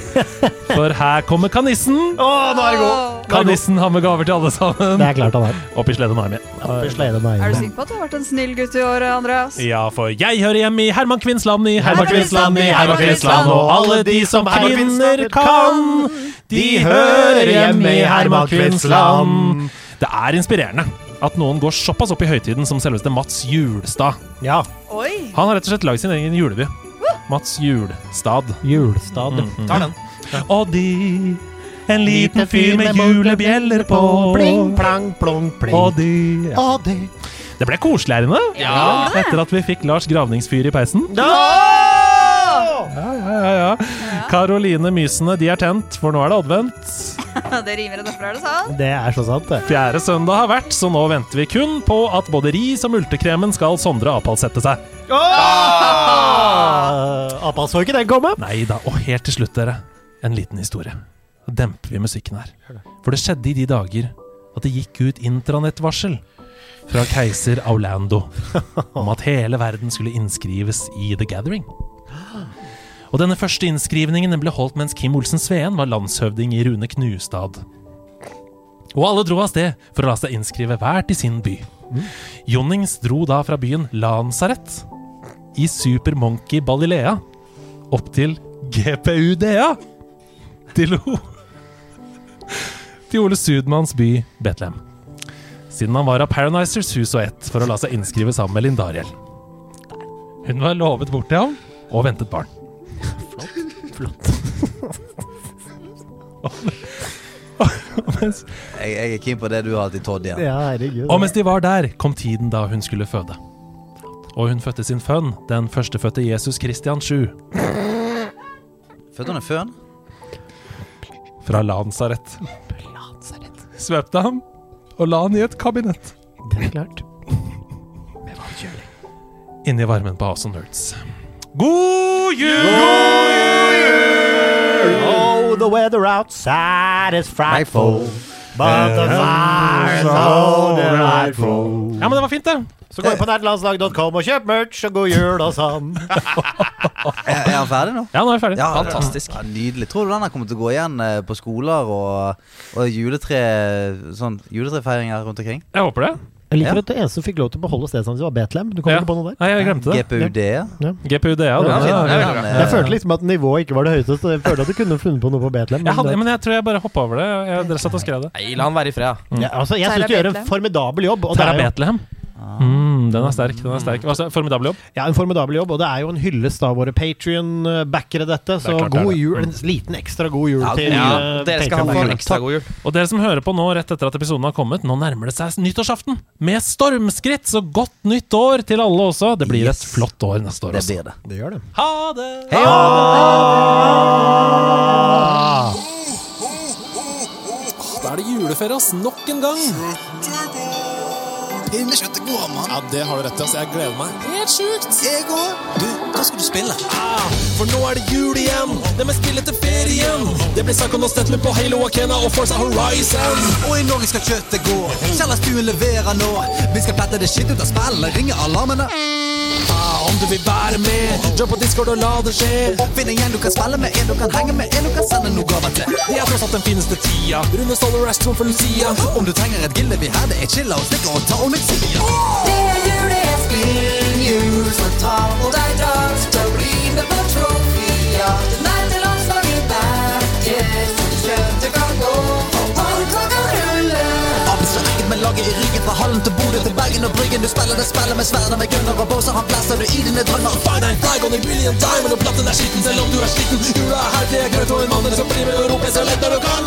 S1: for her kommer kanissen.
S6: nå er det god.
S1: Kanissen har med gaver til alle sammen.
S7: Det er klart han har.
S1: Opp i sledet Naimi.
S7: Oppi sleden er
S6: Er du
S7: inne.
S6: sikker på at du har vært en snill gutt i år, Andreas?
S1: Ja, for jeg hører hjemme i Herman Kvinnsland, i Herman
S6: Herman
S1: Kvinnsland, i Herman
S6: Herman
S1: Kvinnsland.
S6: Kvinnsland.
S1: Og alle de som
S7: Herman
S1: kvinner
S7: Kvinnsland
S1: kan, de hører hjemme i Herman Kvinnsland.
S7: Kvinnsland.
S1: Det er inspirerende at noen går såpass opp i høytiden som selveste Mats Julstad.
S7: Ja.
S6: Oi!
S1: Han har rett og slett lagd sin egen juleby. Mats Julstad.
S7: Julestad.
S8: Tar den.
S1: Og de, en Mm. liten fyr med julebjeller på.
S7: Pling, plang, plong, pling.
S1: Og de ja.
S7: Og det-
S1: Det ble koselig her inne. Etter at vi fikk Lars Gravningsfyr i peisen. Ja, ja, ja, ja. Karoline Mysene, de er tent, for nå er det advent.
S6: Det rimer, og derfor er det sant.
S7: Det er så sant, det.
S1: Fjerde søndag har vært, så nå venter vi kun på at både ris og multekremen skal Sondre avfallssette seg.
S7: Ah, Apa så ikke den komme.
S1: Nei da. Og helt til slutt, dere, en liten historie. Så demper vi musikken her. For det skjedde i de dager at det gikk ut intranettvarsel fra keiser Aulando om at hele verden skulle innskrives i The Gathering. Og denne første innskrivningen den ble holdt mens Kim Olsen Sveen var landshøvding i Rune Knustad. Og alle dro av sted for å la seg innskrive hver til sin by. Jonnings dro da fra byen Lansaret i Super Monkey Balilea opp til GPUDA til O. Til Ole Sudmanns by Betlehem. Siden han var av Paradisers hus og ett for å la seg innskrive sammen med Linn Dariel. Hun var lovet bort til ham og ventet barn. Flott. Flott. Og- og mens
S5: Jeg, jeg er keen på det du har til Todd igjen.
S7: Ja, herregud.
S1: og mens de var der, kom tiden da hun skulle føde. Og hun fødte sin fønn, den førstefødte Jesus Christian 7,
S5: Fødte hun en føn?
S1: fra Lansaret. Svøpte ham og la han i et kabinett.
S7: Det er klart.
S1: Inni varmen på House of Nerds. God jul!
S7: Oh, the weather outside is frightful. But the fire is so delightful.
S1: Ja, men det var fint, det.
S7: Så gå inn på nettlandslag.com og kjøp merch, og god jul og sånn.
S5: Er, er han ferdig nå?
S1: Ja, nå er vi ferdig.
S5: Ja,
S8: Fantastisk.
S5: Ja, nydelig. Tror du den her kommer til å gå igjen eh, på skoler og, og juletre, sånn, juletrefeiringer rundt omkring?
S1: Jeg håper det.
S7: Jeg liker
S5: Ja.
S7: at det eneste som fikk lov til å beholde stedsnavnet sitt, var Betlehem. Du kom
S1: Ja.
S7: ikke på noe der?
S1: Nei, jeg glemte det.
S5: GPUD. ja. eh,
S1: GPUDA. Ja,
S8: Ja,
S1: ja,
S8: det er
S1: ja.
S8: veldig bra.
S5: Ja.
S7: Jeg følte liksom at nivået ikke var det høyeste, så jeg følte at du kunne funnet på noe på Betlehem.
S1: Jeg hadde,
S7: det-
S1: men jeg tror jeg bare hoppa over det. Jeg, dere satt og skrev det.
S8: Nei, la han være i fred. da.
S7: ja, altså, jeg
S6: Terra
S7: syns du gjør en
S6: Bethlehem.
S7: formidabel jobb. Og det
S1: Terra
S7: er jo,
S1: Betlehem. Mm, den er sterk. den er sterk altså, Formidabel jobb.
S7: ja, en formidabel jobb, og det er jo en hyllest av våre Patrion-backere, dette. Så
S1: Det er klart det er
S7: god
S1: det.
S7: jul. En liten ekstra god jul
S5: Ja,
S7: til
S8: Ja,
S7: eh,
S8: dere skal ha en
S7: Patreon-backere.
S8: ekstra god jul.
S1: Og dere som hører på nå rett etter at episoden har kommet, nå nærmer det seg nyttårsaften med stormskritt! Så godt nytt år til alle også! Det blir et
S5: Yes.
S1: flott år neste år
S5: Det
S1: også.
S5: blir det.
S7: Det gjør det.
S1: Ha det! Da er det juleferie hos nok en gang. Ja, det har du rett i. ass. Jeg gleder meg. Helt sjukt! Ah, For nå er det jul igjen, det med spillet til ferien. Det blir snakk om noe Stetler på Halo Akena og Forza Horizon.
S9: sånn. Og i Norge skal kjøttet gå. Kjellerstuen leverer nå. Vi skal plette det skitt ut av spillet, ringe alarmene.
S1: Ah, om du vil være med, jobb på Discord og la det skje.
S9: Finn en gjeng du kan spille med, en du kan henge med, en du kan sende noe gaver til.
S1: Det er tross alt den fineste tida. Runde Solar Rash for Lucia.
S9: Om du trenger et gilde vi her, det er chilla og stikker og ta om et sida. Det er jul, det er spill, jul, så ta på deg drakt og bli med på troféjakt. Nei til landslaget backes, kjøttet kan gå, og panka kan rulle. Abelsen er ekkelt med laget i ryggen fra Hallen til Bodø til Bergen og Bryggen. Du spiller det spillet med sverdet med gunner og båser, han blæster du i dine drømmer.
S1: Find deg en flag on a million diamond, og platten er skitten selv om du er sliten. Jula er her, det er grønt, og en mann som blir med og roper så lett når du kan.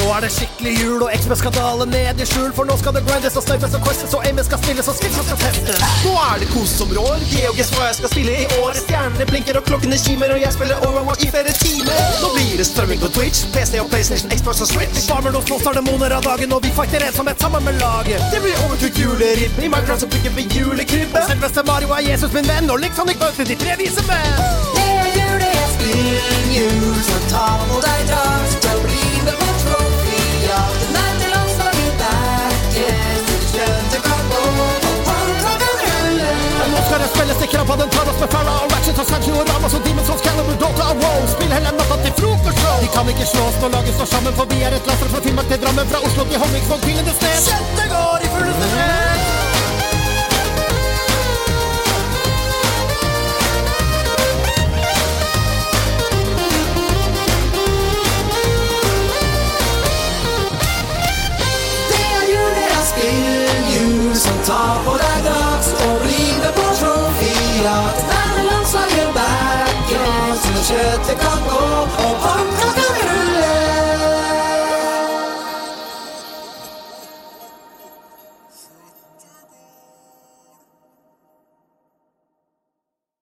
S9: Nå er det skikkelig jul og XB skal dale ned i skjul For nå skal det grindes og snipes og questes Og aimes skal stilles og skills skal testes Nå er det kos som rår Geoges hva jeg skal spille i år Stjernene blinker og klokkene kimer Og jeg spiller Overwatch i flere timer Nå blir det strømming på Twitch PC og Playstation, Xbox og Switch Farmer nå slåss demoner av dagen Og vi fighter ensomhet sammen med laget Det blir overtrykt juleribbe I Minecraft så bygger vi julekrybbe Selveste Mario er Jesus min venn Og liksom ikke møter de tre vise menn Det er jul, det er spill Jul, så ta på deg drakt Og bli med på troféjakt Nei til landslaget backes Kjøttet kan gå Og panka kan rulle Nå skal det spilles til krabba Den tar oss med Farah og Ratchet og Sancho og Ramos Og Demon's Souls, Calibur, Dota og WoW Spill hele natta til frokostshow De kan ikke slå oss når laget står sammen For vi er et laster fra Finnmark til Drammen Fra Oslo til Honningsvåg, tyngende sted Kjøttet går i fulleste sted er